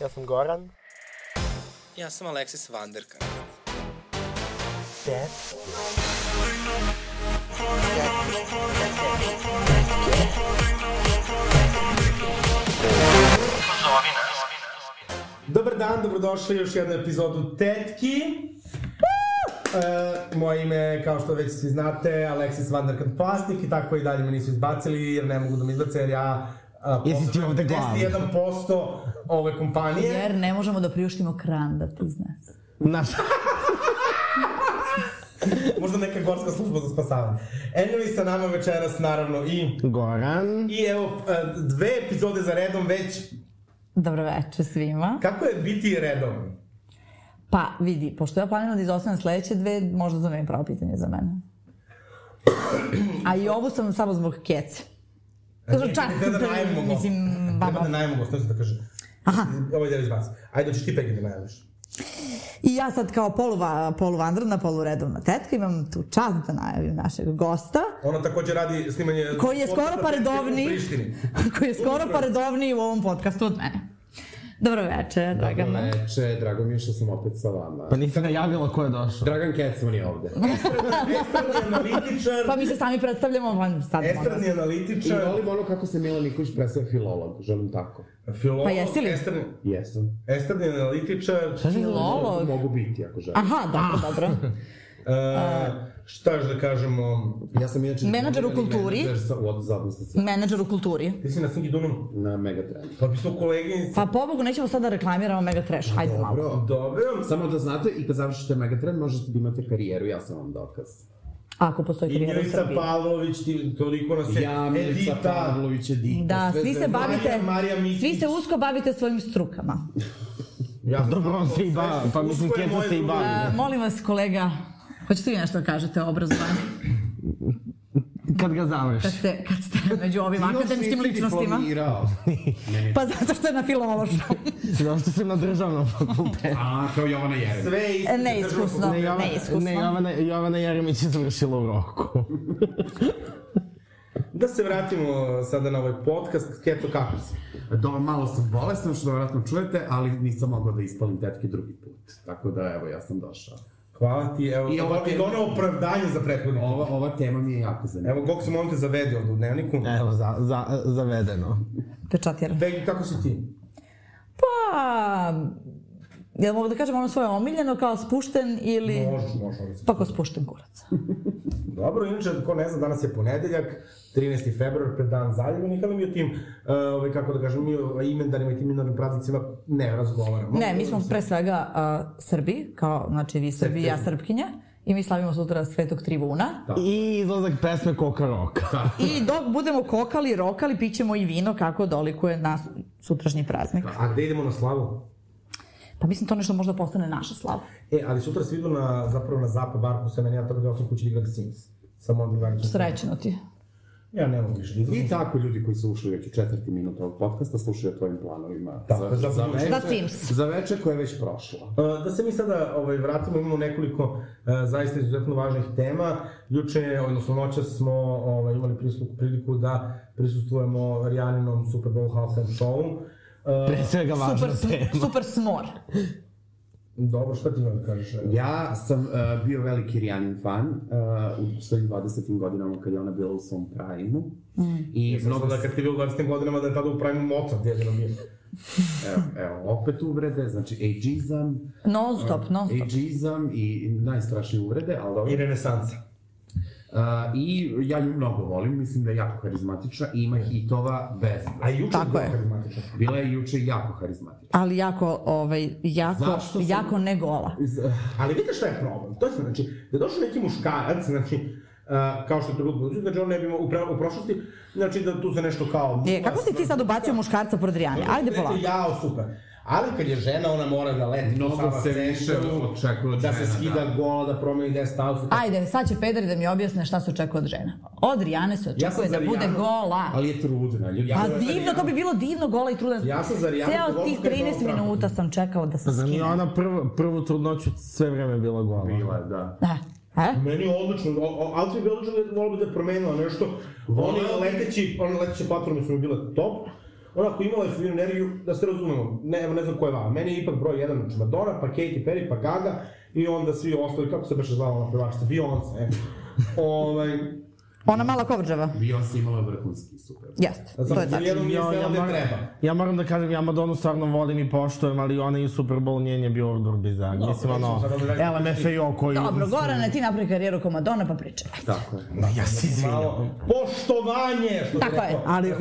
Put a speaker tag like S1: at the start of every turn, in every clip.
S1: Ja sam Goran.
S2: Ja sam Alexis Vanderkamp.
S1: Dead.
S3: Dobar dan, dobrodošli u još jednu epizodu Tetki. E, moje ime, je, kao što već svi znate, Alexis Vanderkant Plastik i tako i dalje me nisu izbacili jer ne mogu da me izbace jer ja e, a,
S4: Jesi ti
S3: posjedujem
S4: ovde glavni?
S3: 51% ove kompanije.
S5: Jer ne možemo da priuštimo kran da ti znaš.
S4: Naš...
S3: Možda neka gorska služba za spasavanje. Anyway, sa nama večeras naravno i...
S4: Goran.
S3: I evo, e, dve epizode za redom već.
S5: Dobro večer svima.
S3: Kako je biti redom?
S5: Pa vidi, pošto ja planiram da izostavim sledeće dve, možda to nema pravo pitanje za mene. A i ovu sam samo zbog kece. Kažem čast,
S3: Treba da najmemo gosta.
S5: mislim,
S3: Treba da
S5: vama.
S3: najmemo gosta, nešto da kažem.
S5: Aha,
S3: Ovo je izbaci. Ajde, hoćeš ti pegi da najaviš.
S5: i ja sad kao poluva, poluvandrna, poluredovna tetka imam tu čast da najavim našeg gosta,
S3: Ona takođe radi snimanje...
S5: Koji je skoro
S3: podcasta
S5: pa redovni.
S3: u Prištini.
S5: koji je skoro pa redovniji u ovom podcastu od mene. Dobro večer, Dragana.
S6: Veče, drago mi je što sam opet sa vama.
S4: Pa nisi najavila ko je došao.
S6: Dragan Kecman je ovde.
S3: Estradni analitičar,
S5: Pa mi se sami predstavljamo, van sad molim
S3: estradni
S5: vas.
S6: I
S3: analitičar,
S6: volim ono kako se Milan Nikolić predstavlja filolog, želim tako.
S3: filolog,
S5: Pa jesi li?
S3: estradni,
S6: Jesam.
S3: estradni analitičar,
S5: Filolog.
S6: Mogu biti ako želim.
S5: Aha, dobro, dobro.
S3: uh, šta još da kažemo,
S6: Ja sam inače...
S5: Menadžer u kulturi.
S6: Menadžer sa, u odzavisnosti sa
S5: Menadžer u kulturi.
S3: ti si na Singi Dunom,
S6: na Megatrendu.
S3: pa bi smo koleginica,
S5: Pa pobogu, nećemo sada da reklamiramo Mega Trash, hajde malo.
S6: Dobro.
S3: dobro,
S6: Samo da znate, i kad završite Megatrend, možete da imate karijeru, ja sam vam dokaz.
S5: Ako postoji
S3: i
S5: karijera u
S3: Milica
S6: pa-
S5: Srbiji.
S3: Pavlović, ti, toliko nas je,
S6: Ja, Milica Pavlović, Edita,
S5: Da,
S6: sve
S5: svi
S6: se-
S5: se bavite,
S3: Marija- Marija Mikić.
S5: svi se usko bavite svojim strukama.
S3: ja sam
S4: Pa Dobro, on se i bavi, pa mislim
S3: Usko je
S4: Kjeca
S3: moje
S4: se i bavi.
S5: A, Pa, molim vas, kolega, hoćete vi nešto da kažete o obrazovanju?
S4: Kad ga završi.
S5: Kad ste, kad ste među ovim
S6: Još
S5: akademskim
S6: nisi
S5: ličnostima?
S6: diplomirao.
S5: Pa zato što je na filološkom.
S4: Zato što sam na državnom fakultetu.
S6: A, kao Jovana Jeremić.
S3: sve isto,
S5: E, Neiskusno,
S4: Ne, Jovana, ne,
S5: neiskusno.
S4: Jovana, Jovana Jeremić je završila u roku.
S3: Da se vratimo sada na ovaj podcast, Keto, kako si?
S6: Do, malo sam bolestan, što vjerojatno čujete, ali nisam mogao da ispalim tetke drugi put. Tako da, evo, ja sam došao.
S3: Hvala ti, evo,
S6: I
S3: I ovo
S6: ovo
S3: je
S6: je-
S3: ono opravdanje za prethodnik.
S6: Ova, ova tema mi je jako zanimljiva.
S3: Evo, Gok se molim te zavedi ovde u dnevniku.
S4: Evo, za, za, zavedeno.
S5: Pečatjera.
S3: Pegi, kako si ti?
S5: Pa, jel mogu da kažem ono svoje omiljeno kao spušten ili...
S3: Možeš, možeš. možeš.
S5: Pa ko spušten kurac.
S3: Dobro, inače, ko ne zna, danas je ponedeljak, 13. februar, pred dan zaljubljenih, ali mi o tim, e, ovaj, kako da kažem, mi o imendanima i tim minornim praznicima ne razgovaramo.
S5: Ne, mi smo pre svega uh, Srbi, kao, znači vi Srbi, ja Srpkinja, i mi slavimo sutra Svetog Trivuna.
S4: I izlazak pesme Koka Roka. Da.
S5: I dok budemo kokali, i rokali, pićemo i vino kako dolikuje na sutrašnji praznik.
S3: A gde idemo na slavu?
S5: Pa mislim to nešto možda postane naša slava.
S3: E, ali sutra svi idu na, zapravo na zapa barku sa meni, ja treba da osam kući da igram Sims. Sa mojom drugaričom.
S5: Srećno ti.
S3: Ja ne mogu više da
S6: I
S3: izlazim.
S6: tako, ljudi koji su ušli već u četvrti minut ovog podcasta, slušaju o tvojim planovima
S3: Tako, Da, za budućnost.
S6: večer,
S5: Za Sims.
S6: za večer koja je već prošla.
S3: E, Da se mi sada ovaj, vratimo, imamo nekoliko uh, zaista izuzetno važnih tema. Juče, odnosno noćas smo ovaj, imali priliku, priliku da prisustujemo Rijaninom Super Bowl halftime showu. Uh,
S4: Pre svega važna
S5: Super, sm-
S4: tema.
S5: super smor.
S3: dobro, šta ti imam da kažeš?
S6: Ja sam uh, bio veliki Rijanin fan uh, u svojim 20. godinama kad je ona bila u svom primu. Mm. I
S3: Mnogo
S6: mnogo
S3: da kad ti bio u 20. godinama da je tada upravimo Mozart jedino bio.
S6: Evo, evo, opet uvrede, znači ageizam,
S5: Non stop, non stop.
S6: ageizam i najstrašnije uvrede, ali dobro.
S3: I renesansa.
S6: Uh, I ja nju mnogo volim, mislim da je jako harizmatična i ima hitova bez.
S3: A juče
S5: Tako
S3: bilo
S5: je.
S3: karizmatično.
S6: Bila je juče jako harizmatična.
S5: Ali jako, ovaj, jako,
S6: Zašto sam-
S5: jako ne gola.
S6: Iz-
S3: Ali vidite šta je problem? To je znači, da je došao neki muškarac, znači, uh, kao što je to bilo budući, znači on ne bi imao u, pra- u prošlosti, znači da tu se nešto kao...
S5: E, kako si ti sad ubacio muškarca pored Rijane? E, Ajde
S3: Rekli,
S5: polako.
S3: Jao, super. Ali kad je žena, ona mora da leti.
S6: Mnogo
S3: sama
S6: se
S3: centru,
S6: više očekuje od
S3: Da
S6: žena,
S3: se skida
S6: da.
S3: gola, da promeni deset outfit.
S5: Ajde, sad će pederi da mi objasne šta se očekuje od žena. Od Rijane se
S3: Ja sam
S5: očekuje
S3: za
S5: da bude
S3: Rijanu,
S5: gola.
S6: Ali je trudna, ljudi.
S5: Pa
S3: sam za
S5: divno, to bi bilo divno, gola i trudan.
S3: Ja sam za Rijanu
S5: Ceo
S3: gola
S5: tih
S3: kad je gola
S5: 13
S3: Trumpa.
S5: minuta sam čekao da se
S4: Za nje
S5: skine.
S4: ona prvu, prvu trudnoću sve vreme bila gola.
S6: Bila je, da.
S5: Da. E?
S3: Meni je odlično, o- o- outfit je odlično, da volim da je promenila nešto. Oni
S6: Volim.
S3: leteći, oni leteće platforme su mi bile top. onako imala je svoju energiju, da se razumemo, ne, evo, ne znam ko je vama, meni je ipak broj jedan znači Madonna, pa Katy Perry, pa Gaga, i onda svi ostali, kako se beše zvala ona pevačica, Beyoncé, e. ovaj,
S5: Ona mala kovrđava.
S6: Beyoncé imala vrhunski super.
S5: Jeste, to
S3: zato
S5: je
S3: što
S5: tačno.
S3: jednom nije
S4: Ja, ja,
S3: znala da
S4: moram,
S3: treba.
S4: ja moram da kažem, ja Madonu stvarno volim i poštojem, ali ona i Super Bowl njen je bio ordur bizar. Mislim, ono,
S3: sad da onda dajte-
S4: LMFAO koji...
S5: Dobro, Gorane, ti napravi karijeru kao Madonna, pa pričaj.
S3: Da.
S6: Tako je.
S4: Ja si izvinjam.
S3: Malo poštovanje, što
S5: Tako je,
S4: ali-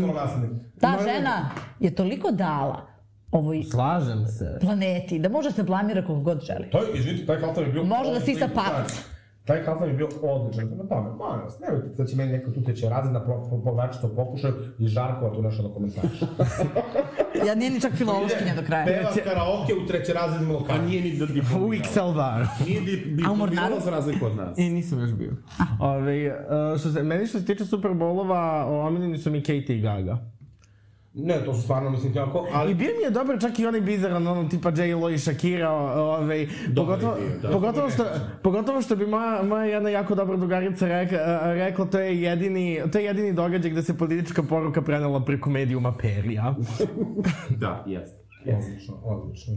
S5: Ta žena je toliko dala ovoj
S4: Slažem se.
S5: planeti da može da se blamira koliko god želi.
S3: To je, izvinite, taj halftan je bio...
S5: Može da sisa palac.
S3: Taj halftan je bio odličan. Prema tome, molim vas, nemojte da će meni neka tu teče razredna pro- po- povlačito pokušaj i Žarkova tu nešto da komentariš. da.
S5: Ja nije ni čak filološkinja do kraja.
S3: Peva karaoke u trećerazrednom
S6: Pa
S3: lokalu.
S6: nije ni da
S4: U XL baru.
S6: Nije di, di,
S5: A u Mornaru?
S6: za razliku od nas.
S4: I nisam još bio. Ove, e, što se, meni što se tiče Super Bowlova, omiljeni su mi Katie i Gaga.
S3: Ne, to su stvarno, mislim, jako,
S4: Ali
S3: ali...
S4: bio mi je dobar čak i onaj bizaran, ono tipa J-Lo i Shakira, ovaj, pogotovo,
S6: bio, da.
S4: pogotovo, što, pogotovo što bi moja, moja jedna jako dobra drugarica rek, a, rekla, to je, jedini, to je jedini događaj gde se politička poruka prenela preko medijuma Perija.
S6: Da, jeste.
S3: Odlično, odlično.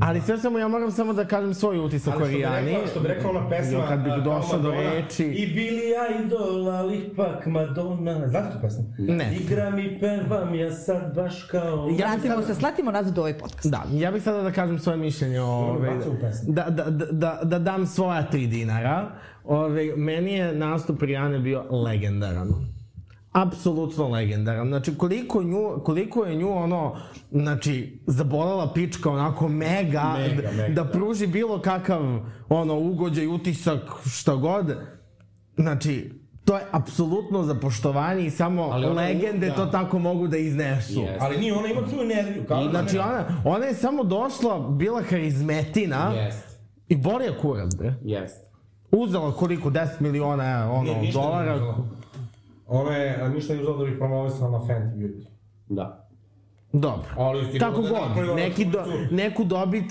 S4: Ali sve samo, ja moram samo da kažem svoj utisak o
S3: Ali što bi
S4: Rijani.
S3: rekla, što bi rekla ona pesma...
S4: Jo, kad bih
S3: a,
S4: došao do
S3: Madonna,
S4: reči.
S3: I bili ja idol, ali ipak Madonna... Znate tu pesmu?
S6: Mm.
S4: Ne.
S3: Igram i pevam ja sad baš kao...
S4: Ja bih
S5: Vratimo
S4: sada-
S5: se, sletimo nazad u ovaj podcast.
S4: Da, ja bih sada da kažem svoje mišljenje o... Ove,
S3: baca u pesmu.
S4: da, da, da, da, da dam svoja tri dinara. Ove, meni je nastup Rijane bio legendaran. Apsolutno legendaran. Znači, koliko, nju, koliko je nju ono, znači, zabolela pička onako mega,
S3: Mega,
S4: d-
S3: mega,
S4: da
S3: da.
S4: pruži bilo kakav ono, ugođaj, utisak, šta god. Znači, to je apsolutno za poštovanje i samo
S6: Ali ona-
S4: legende
S6: da.
S4: to tako mogu da iznesu.
S6: Jeste.
S3: Ali nije, ona ima tu energiju. Kao da
S4: Znači,
S3: ne-
S4: ona, ona je samo došla, bila harizmetina
S6: Jeste.
S4: i bolija kurac, bre.
S6: Jeste.
S4: Uzela koliko, 10 miliona ono,
S3: Nije, ništa
S4: dolara.
S3: nije uzela. Ona je a, ništa nije uzela da bi promovisala na Fenty Beauty.
S6: Da.
S4: Dobro.
S3: Ali sigurno
S4: Kako
S3: da je napravila
S4: god, neki do,
S3: računicu.
S4: neku dobit,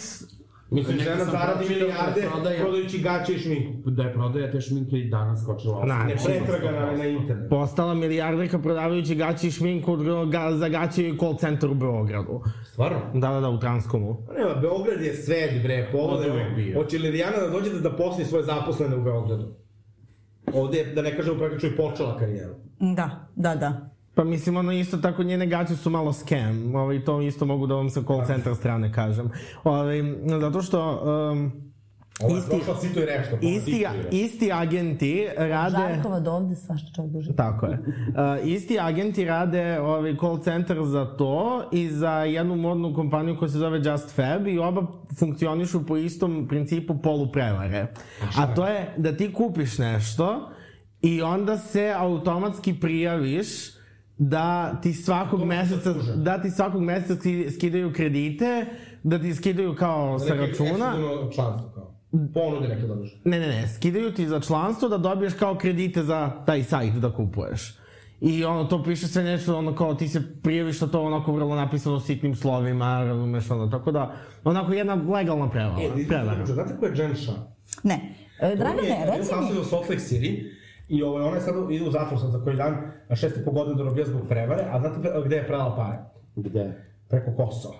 S3: Mislim,
S6: neki
S3: žena
S6: sam
S3: zaradi
S6: pročitao
S3: milijarde
S6: da prodaje-
S3: prodajući gaće i šminku.
S6: Da je prodaja te šminke i danas skočila.
S4: Na,
S3: Ne
S4: ne,
S3: pretraga na, na internetu.
S4: postala milijarderka prodavajući gaće i šminku od gro- ga, za gaće i call center u Beogradu.
S3: Stvarno?
S4: Da, da, da, u Transkomu.
S3: Pa Nema, Beograd je svet, bre,
S6: Od
S3: pogledaj.
S6: uvek bio.
S3: Hoće li Rijana da dođe da, da posli svoje zaposlene u Beogradu? Ovde je, da ne kažemo praktično, i počela karijeru.
S5: Da, da, da.
S4: Pa mislim, ono isto tako njene gaće su malo scam, ovaj, to isto mogu da vam sa call center strane kažem. Ovaj, zato što... Um,
S3: Ovo je
S4: Isti-
S3: prošla sito i rešto. pa
S4: isti,
S3: sito i rešto.
S4: isti agenti rade...
S5: Žarkova do ovde svašta čovjek duži.
S4: Tako je. Uh, isti agenti rade ovaj call center za to i za jednu modnu kompaniju koja se zove Just Fab i oba funkcionišu po istom principu poluprevare. A to je da ti kupiš nešto i onda se automatski prijaviš da ti svakog meseca da ti svakog meseca ski- skidaju kredite, da ti skidaju kao sa
S3: Neke
S4: računa.
S3: ekskluzivno članstvo, kao. Ponude neke dobiš.
S4: Ne, ne, ne, skidaju ti za članstvo da dobiješ kao kredite za taj sajt da kupuješ. I ono, to piše sve nešto, ono kao ti se prijaviš na to onako vrlo napisano sitnim slovima, razumeš ono, tako da, onako jedna legalna prevara.
S3: E,
S4: prevara.
S3: znate ko je Jen Shah?
S5: Ne. E, Dragane, reci
S3: mi...
S5: mi...
S3: u Salt Lake City i ovaj, ona je sad ide u zatvor sad za koji dan, a šest i po godina da robija zbog prevare, a znate pre- gde je prala pare?
S6: Gde?
S3: Preko Kosova.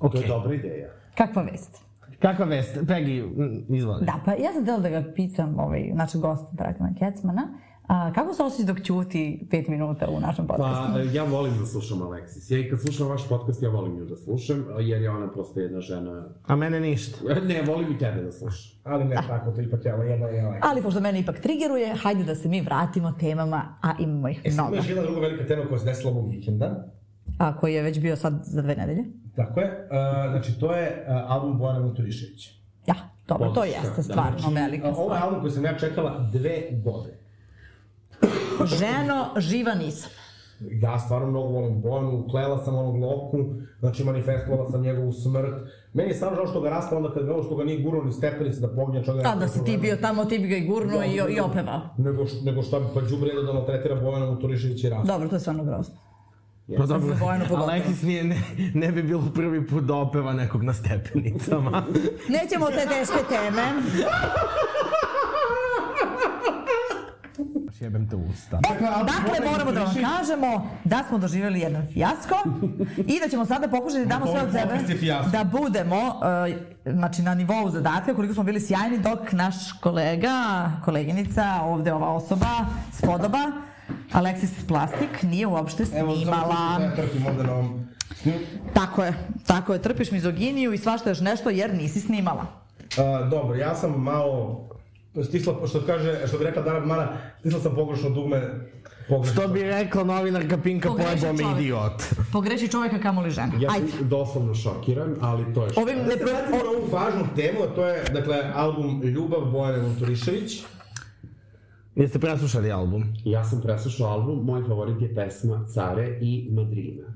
S4: Ok,
S6: To je dobra ideja.
S5: Kakva vest?
S4: kakva vest? Peggy, mm, izvoli.
S5: Da, pa ja sam htjela da ga pitam, ovaj, našeg gosta Dragana Kecmana, a, kako se osjeća dok ćuti pet minuta u našem podcastu?
S6: Pa, ja volim da slušam Alexis. Ja i kad slušam vaš podcast, ja volim nju da slušam, jer je ona prosto jedna žena...
S4: A mene ništa.
S6: Ne, volim i tebe da slušam.
S3: Ali ne tako, to ipak je ova jedna je ovaj.
S5: Ali pošto mene ipak trigeruje, hajde da se mi vratimo temama, a imamo ih
S3: E, sad
S5: mnogo.
S3: imaš jedna druga velika tema koja se desila ovog vikenda.
S5: A koji je već bio sad za dve nedelje.
S3: Tako je, uh, znači to je uh, album Bojana Maturiševića.
S5: Da, dobro, to
S6: Podrška, da.
S5: jeste stvarno velika
S3: A, Ovo je
S5: stvar.
S3: album koji sam ja čekala dve godine.
S5: Ženo, živa nisam.
S3: Ja stvarno mnogo volim Bojanu, klela sam onog lovku, znači manifestovala sam njegovu smrt. Meni je stvarno žao što ga rasta onda kad ga ovo što ga nije gurao ni stepenice da pognje čovjek.
S5: Da, da si ti bio tamo, ti bi ga i gurnuo i, i opevao.
S3: nego, š- nego šta bi pa Đubreda da maltretira Bojana Motorišević i Rasta.
S5: Dobro, to je stvarno grozno.
S4: Pa dobro,
S5: Za Bojanu pogotovo.
S4: Alexis nije, ne, ne bi bilo prvi put da opeva nekog na stepenicama.
S5: Nećemo te teške teme.
S4: Jebem te usta.
S5: Dakle, moramo da vam kažemo da smo doživjeli jedan fijasko i da ćemo sada pokušati da damo sve od
S3: Podcast je
S5: sebe
S3: fijasko.
S5: da budemo e, znači, na nivou zadatka koliko smo bili sjajni dok naš kolega, koleginica, ovde ova osoba, spodoba, Aleksis Plastik nije uopšte snimala.
S3: Evo, da trpim ovde na ovom. snimku.
S5: Tako je, tako je, trpiš mizoginiju i svašta još nešto jer nisi snimala.
S3: A, dobro, ja sam malo stisla, što kaže, što bi rekla Dara Mara, stisla sam pogrešno dugme. Pogrešno.
S4: Što bi rekla novinarka Pinka
S5: Pogrešan
S4: pojebao me
S5: čovjek.
S4: idiot.
S5: Pogreši čovjeka kamoli žena.
S6: Ja
S5: Ajde.
S6: sam doslovno šokiran, ali to je što.
S5: Ovim
S3: Ne
S5: ne
S3: se vratimo na ovu važnu temu, a to je, dakle, album Ljubav Bojane Vunturišević.
S4: Jeste preslušali album?
S6: Ja sam preslušao album, moj favorit je pesma Care i Madrina.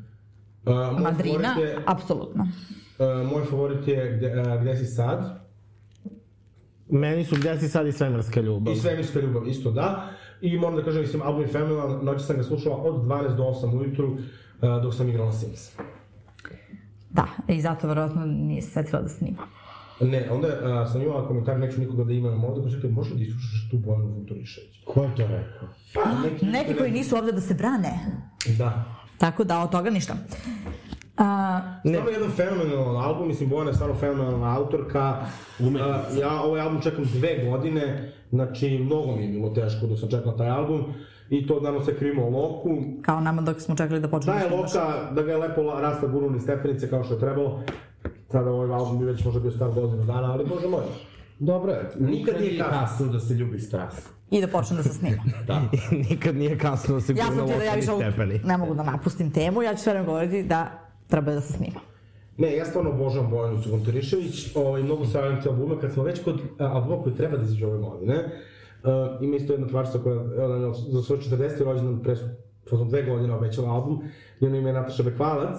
S3: Uh, moj
S5: Madrina,
S3: favorit je,
S5: apsolutno.
S3: uh, moj favorit je gde, uh, gde si sad
S4: Meni su gdje si sad i svemirska ljubav.
S3: i Svemirska ljubav isto da. I moram da kažem, mislim, album je fenomenalan, noći sam ga slušao od 12 do 8 ujutru uh, dok sam igrao na Sims.
S5: Da, i zato verovatno nije se setila da snima.
S3: Ne, onda uh, sam imala komentar, neću nikoga da imam ovde, pa čekaj, možeš da islušaš tu Bojanu Vunturišević?
S6: Ko je to rekao?
S3: Pa, neki,
S5: Neki koji nisu ovde da se brane.
S3: Da.
S5: Tako da, od toga ništa. A,
S3: Ne. Stvarno jedan fenomenalan album, mislim Bojana je stvarno fenomenalna autorka.
S6: Umetnica.
S3: Uh, ja ovaj album čekam dve godine, znači mnogo mi je bilo teško dok sam čekao taj album. I to naravno se krivimo Loku.
S5: kao nama dok smo čekali da
S3: Da
S5: počnemo.
S3: je
S5: snimaš.
S3: Loka, da ga je lepo la- rasta gurnu iz stepenice kao što je trebalo. Sada ovaj album bi već možda bio star godinu dana, ali bože moj.
S6: Dobro je, nikad nije kasno da se ljubi strast.
S5: I da počne da se snima.
S6: Da.
S4: Nikad nije kasno da se ja
S5: Jasno ti je da ja više ovu-
S4: stepeni.
S5: ne mogu da napustim temu, ja ću sve vreme govoriti da treba da se snima.
S3: Ne, ja stvarno obožavam Bojanu Cugonturišević, ovaj, mnogo se radim te albume, kad smo već kod e, albuma koji treba da izađe ove godine, uh, ima isto jedna tvarčica koja e, ona je za svoj 40. rođendan pre pozom dve godine obećala album, njeno ime je Nataša Bekvalac,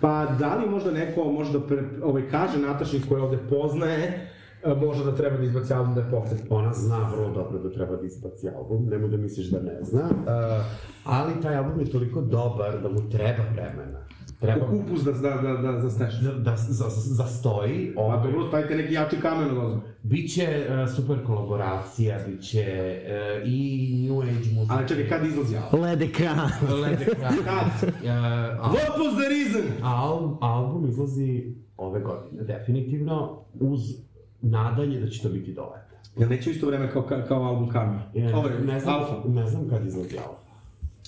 S3: pa da li možda neko može da pre, ovaj, kaže Nataši koja ovde poznaje, e, može da treba da izbaci album da je podsjeti.
S6: Ona zna vrlo dobro da treba da ispaci album, nemoj da misliš da ne zna, uh, ali taj album je toliko dobar da mu treba vremena. Treba mu
S3: Kupus da, da, da, da zasneš.
S6: da, da za, za, zastoji,
S3: Pa
S6: ovaj,
S3: dobro, stavite neki jači kamen da od ozgo.
S6: biće uh, super kolaboracija, biće uh, i New Age muzika.
S3: Ali čekaj, kad izlazi album?
S4: Led ekran.
S6: Lede kad? Uh, al,
S3: What was the reason?
S6: al, album izlazi ove godine, definitivno, uz nadanje da će to biti do leta.
S3: Jel neće u isto vreme kao, ka- kao album Karma?
S6: E,
S3: Ovaj,
S6: ne, znam,
S3: Alfa.
S6: ne znam kad izlazi Alfa.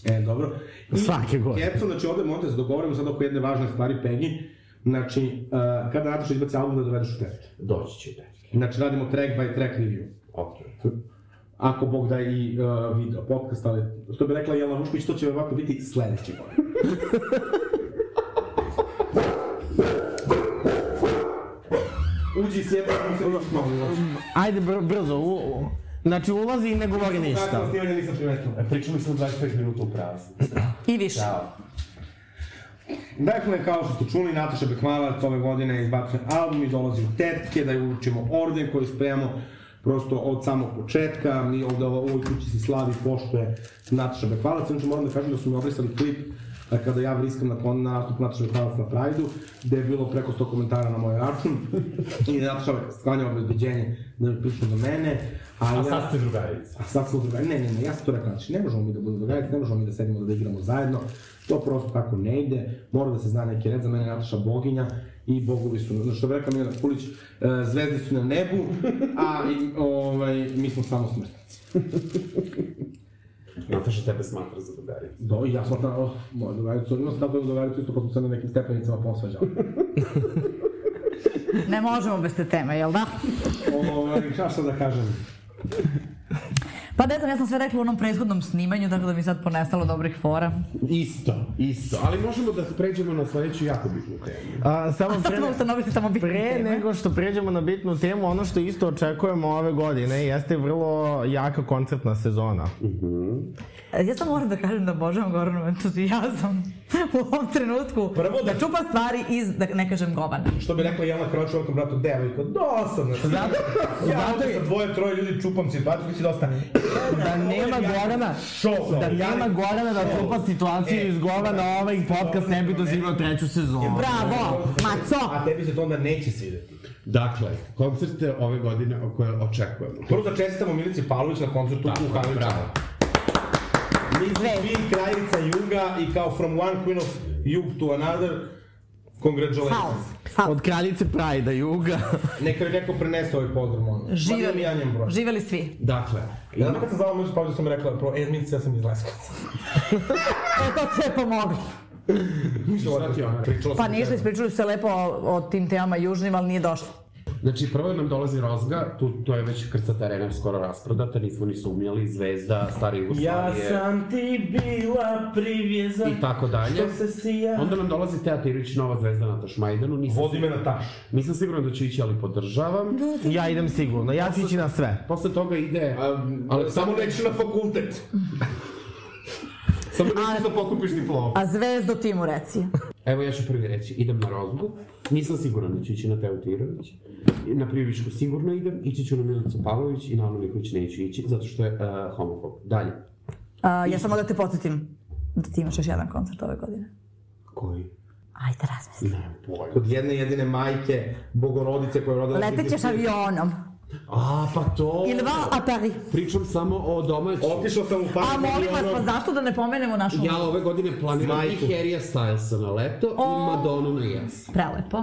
S3: E, dobro. I
S4: Svake godine.
S3: Kecu, znači ovde možete da se dogovorimo sad oko jedne važne stvari, Pegi. Znači, uh, kada Nataša izbaci album da dovedeš u teret.
S6: Doći će tek.
S3: Znači, radimo track by track review.
S6: Ok.
S3: Ako Bog da i uh, video, podcast, ali što bi rekla Jelena Vušković, to će verovatno biti sledeće godine. Uđi s jednom, sam se vidiš malo.
S4: Ajde br brzo, u, u. Znači ulazi i ne govori
S3: Kako
S4: ništa.
S3: snimanje nisam primetio.
S6: Pričali smo 25 minuta u praznu.
S5: I više.
S6: Ćao.
S3: Dakle, kao što ste čuli, Nataša Bekmalac ove godine izbacuje album i dolazi u tetke, da ju učimo orden koji spremamo prosto od samog početka. Mi ovde u ovoj kući se slavi poštuje Nataša Bekmalac. Inače moram da kažem da su mi obrisali klip e, kada ja vriskam na kon nastup Nataša Bekmalac na Prajdu, gde je bilo preko 100 komentara na moj račun i Nataša sklanjava obezbeđenje da je pričam do mene. A,
S6: A
S3: ja-
S6: sad ste drugarice.
S3: A sad smo drugari, ne, ne, ne, ja sam to rekao, znači ne možemo mi da budemo drugarice, ne možemo mi da sedimo da igramo zajedno, to prosto tako ne ide, mora da se zna neki red, za mene je Nataša boginja i bogovi su, znači što bi rekao Milena Kulić, e, zvezde su na nebu, a i, ovaj, mi smo samo smrtnici.
S6: Nataša tebe smatra za drugaricu.
S3: Do, i ja sam tamo, oh, moja drugarica, imao sam tako jednu drugaricu, isto pa smo se na nekim stepenicama posvađali.
S5: Ne možemo bez te teme, jel da?
S3: ovaj, šta sad da kažem?
S5: Pa ne znam, ja sam sve rekla u onom prethodnom snimanju, tako da mi je sad ponestalo dobrih fora.
S6: Isto, isto. Ali možemo da pređemo na sledeću jako bitnu temu.
S4: A, samo
S5: A sad
S4: pre,
S5: ćemo ustanoviti samo bitne
S4: pre
S5: da teme.
S4: nego što pređemo na bitnu temu, ono što isto očekujemo ove godine jeste vrlo jaka koncertna sezona.
S5: Ja sam moram da kažem da obožavam Goranov entuzijazam u ovom trenutku.
S3: Prvo da-
S5: da čupa stvari iz, da ne kažem, govana.
S3: Što bi rekla Jelena Kroč, ovakvom bratu, devojko, dosadno. si. ja ovde sa dvoje, troje ljudi čupam situaciju, biće dosta.
S4: Da nema Gorana,
S3: Show,
S4: da nema Gorana da trupa situaciju iz Gorana, ovaj podcast ne bi doživao treću sezonu.
S5: Bravo, maco!
S3: A tebi se to onda neće svideti.
S6: Dakle, koncerte ove godine o koje očekujemo.
S3: Prvo da čestitamo Milici Pavlović na koncertu
S6: Tako,
S3: u Hanličanu.
S6: bravo.
S3: This is
S5: zvezda.
S3: Queen, kraljica juga i kao from one queen of jug to another. Congratulations.
S5: False. False.
S4: Od kraljice Prajda, Juga.
S3: Neka mi neko prenese ovaj pozdrav, molim. vas. Mada
S5: Živeli,
S3: Ja njem broj.
S5: živeli svi.
S3: Dakle, ja znam kad sam zvala Mirsu Pavlju sam rekla, pro Edminica, ja sam iz Leskovca.
S5: E, to ti je pomoglo.
S6: Šta ti ona?
S3: Pričala
S5: Pa
S3: sam
S5: ništa,
S3: o tome.
S5: ispričali su se lepo o, o tim temama južnim, ali nije došlo.
S6: Znači, prvo nam dolazi Rozga, tu, to je već krca terena skoro rasprodata, nismo ni sumnjali, Zvezda, Stara
S3: Ja
S6: Jugoslavije
S3: sam ti bila privjeza.
S6: i tako dalje.
S3: Što se sija.
S6: Onda nam dolazi Teja Tirić, nova zvezda na Tašmajdanu, nisam,
S3: Vodi me na taš.
S6: nisam siguran da će ići, ali podržavam.
S3: Da.
S4: Ja idem sigurno, ja ću ići na sve.
S6: Posle toga ide... ali samo neću na fakultet. samo neću da pokupiš diplomu.
S5: A zvezdo ti mu reci.
S6: Evo ja ću prvi reći, idem na Rozgu, nisam siguran da ću ići na Teo Tirović, I na Prijevičku sigurno idem, ići ću na Milicu Pavlović i na Anu Nikolić neću ići, zato što je uh, homofob. Dalje.
S5: A, ja samo da te podsjetim da ti imaš još jedan koncert ove godine.
S6: Koji?
S5: Ajde, razmisli.
S6: Ne, pojma.
S3: Kod jedne jedine majke, bogorodice koja je rodila...
S5: Letećeš avionom.
S6: A, pa to...
S5: Il va a Paris.
S6: Pričam samo o domaćim.
S3: Otišao sam u par...
S5: A molim vas, pa zašto da ne pomenemo našu...
S6: Ja ove godine planiram
S3: Majku.
S6: i Harrya Stylesa na leto
S5: O.
S6: i Madonu na jes.
S5: Prelepo.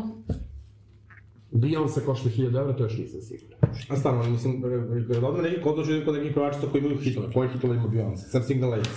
S6: Beyoncé košta 1000 evra, to još nisam siguran.
S3: A stvarno, mislim, kada odmah neki koncert ću kod nekih pevačica koji imaju hitove. Koji hitove ima Beyoncé? Sam Signal Aids.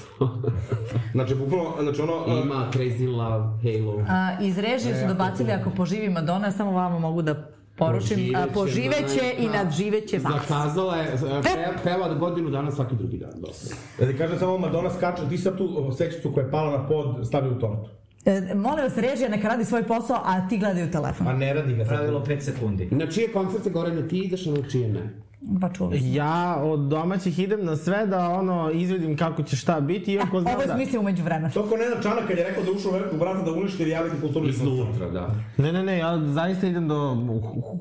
S3: Znači, bukvalno, znači ono... uh,
S6: Ima Crazy Love, Halo.
S5: A, iz režije su dobacili ako poživi Madonna, samo vama mogu da poručim. A,
S6: Poživeće,
S5: poživeće i
S6: majka.
S5: nadživeće vas.
S6: Zakazala je, e, pe, peva godinu dana svaki drugi dan, dosta.
S3: Da ti kažem samo, Madonna skače, ti sad tu o, seksicu koja je pala na pod stavi u tortu.
S5: E, molim vas, režija neka radi svoj posao, a ti gledaj u telefon.
S3: A ne radi ga sad.
S1: Pravilo 5 sekundi.
S6: Na čije koncerte gore na ti ideš, a na čije ne?
S5: Pa čuli smo.
S4: Ja od domaćih idem na sve da ono izvedim kako će šta biti, iako znam
S5: E, Ovo je
S4: da...
S5: smislio umeđu vremena.
S3: To ko Nenad Čanak kad je rekao da je ušao u velikog brata da uništi reality kulturu.
S6: Iznutra, da.
S4: Ne, ne, ne, ja zaista idem do...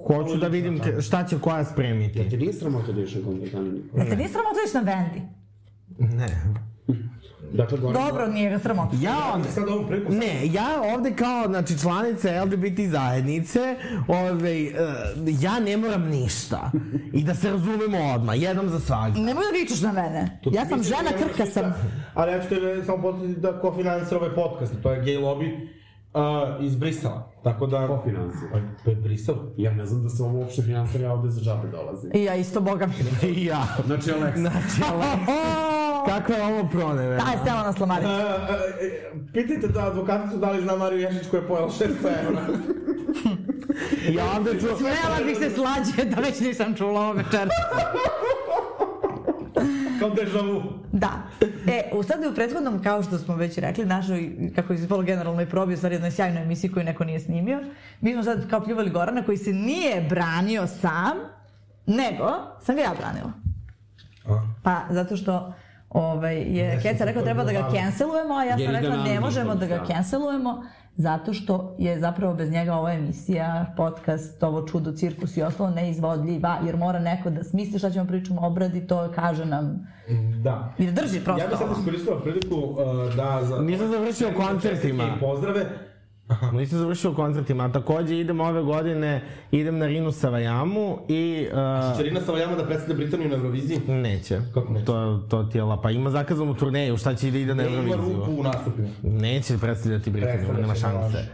S4: Hoću da vidim ke- šta će koja spremiti.
S6: Jel te nije sramota da išao koncert Ana Nikolić?
S5: Jel te nije sramota da ideš na Vendi?
S4: Ne.
S6: Dakle, gore...
S5: Dobro, nije ga sramota.
S4: Ja od...
S3: Sad ovom priliku...
S4: Ne, ja ovde kao znači, članica LGBT zajednice, ovaj, eh, ja ne moram ništa. I da se razumemo odmah, jednom za svagda.
S5: Nemoj da vičeš na mene. Ja sam žena, krka sam.
S3: Ali ja ću te samo podsjetiti da ko finansira ovaj podcast, to je gay lobby uh, iz Brisela. Tako da...
S6: Ko finansira?
S3: Pa, To je Brisel.
S6: Ja ne znam da sam ovo uopšte finansira, ja ovde za džabe dolazim.
S5: I ja isto, boga mi.
S4: I ja.
S6: Znači, Aleksa.
S4: Znači, ali,
S5: O,
S4: kakva je ovo pronevera?
S5: Taj sela na slamaricu.
S3: Uh, uh, pitajte da advokaticu da li zna Mariju Ješić koja je pojela 600 evra.
S4: Ja ovde ču...
S5: Smela bih se slađe da već nisam čula ovo večer.
S3: Kao deja vu.
S5: Da. E, u sad u prethodnom, kao što smo već rekli, našoj, kako je ispalo generalno i probi, u stvari jednoj sjajnoj emisiji koju neko nije snimio, mi smo sad kao pljuvali Gorana koji se nije branio sam, nego sam ga ja branila. Pa, zato što ovaj, je Keca rekao treba da ga cancelujemo, a ja
S6: Jer
S5: sam
S6: ide
S5: rekla
S6: na
S5: ne
S6: Andru,
S5: možemo da ga
S6: da.
S5: cancelujemo, zato što je zapravo bez njega ova emisija, podcast, ovo čudo, cirkus i ostalo neizvodljiva, jer mora neko da smisli šta ćemo pričamo, obradi to, kaže nam
S3: Da.
S5: i da drži prosto.
S3: Ja bih sad
S5: ovo.
S3: iskoristila priliku uh, da... Za...
S4: Nisam završio koncertima.
S3: I pozdrave.
S4: Nisam Pa, završio koncertima, a takođe idem ove godine, idem na Rinu Savajamu i... eh,
S3: Čarina Savajama da predstavlja Britaniju na Euroviziji.
S4: Neće.
S3: Kako neće?
S4: To, to ti je la- pa ima zakazanu turneju, šta će da ide na
S3: Ne ima
S4: Euroviziju?
S3: ruku u nastupima.
S4: Neće predstavljati Britaniju,
S3: Predstavlja
S4: nema
S3: se,
S4: šanse.
S3: laže.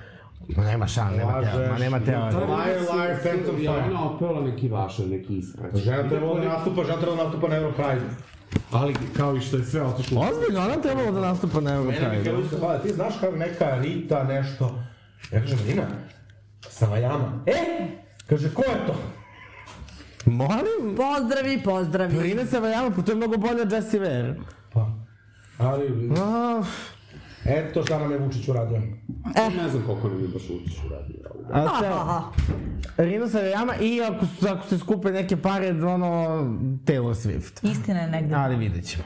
S4: Ma nema šan, nema
S3: Lažeš.
S4: teorije, ma nema teorije.
S3: Liar, liar, phantom
S6: Ja
S3: fire.
S6: ona opela neki vašar, neki ispraćaj.
S3: Žena trebala da nastupa, žena trebala da nastupa na Europrize.
S6: Ali kao i što je sve otišlo.
S4: Ozbiljno, ona trebalo da nastupa na
S3: Mene bi
S4: Europride.
S3: Keluska hvala, ti znaš kako neka Rita nešto. Ja kažem, Rina, Savajama. E, kaže, ko je to?
S4: Molim?
S5: Pozdravi, pozdravi.
S4: Rina se vajama, pa to je mnogo bolje od Jessie Ware.
S3: Pa, ali,
S4: A,
S3: eto šta nam je Vučić uradio.
S6: Ne znam koliko nam je baš učiš uradio.
S4: a
S5: Ha,
S4: se,
S5: ha, ha.
S4: Rina se vajama i ako, su- ako se skupe neke pare, ono, Taylor Swift.
S5: Istina je negde.
S4: Ali vidjet ćemo.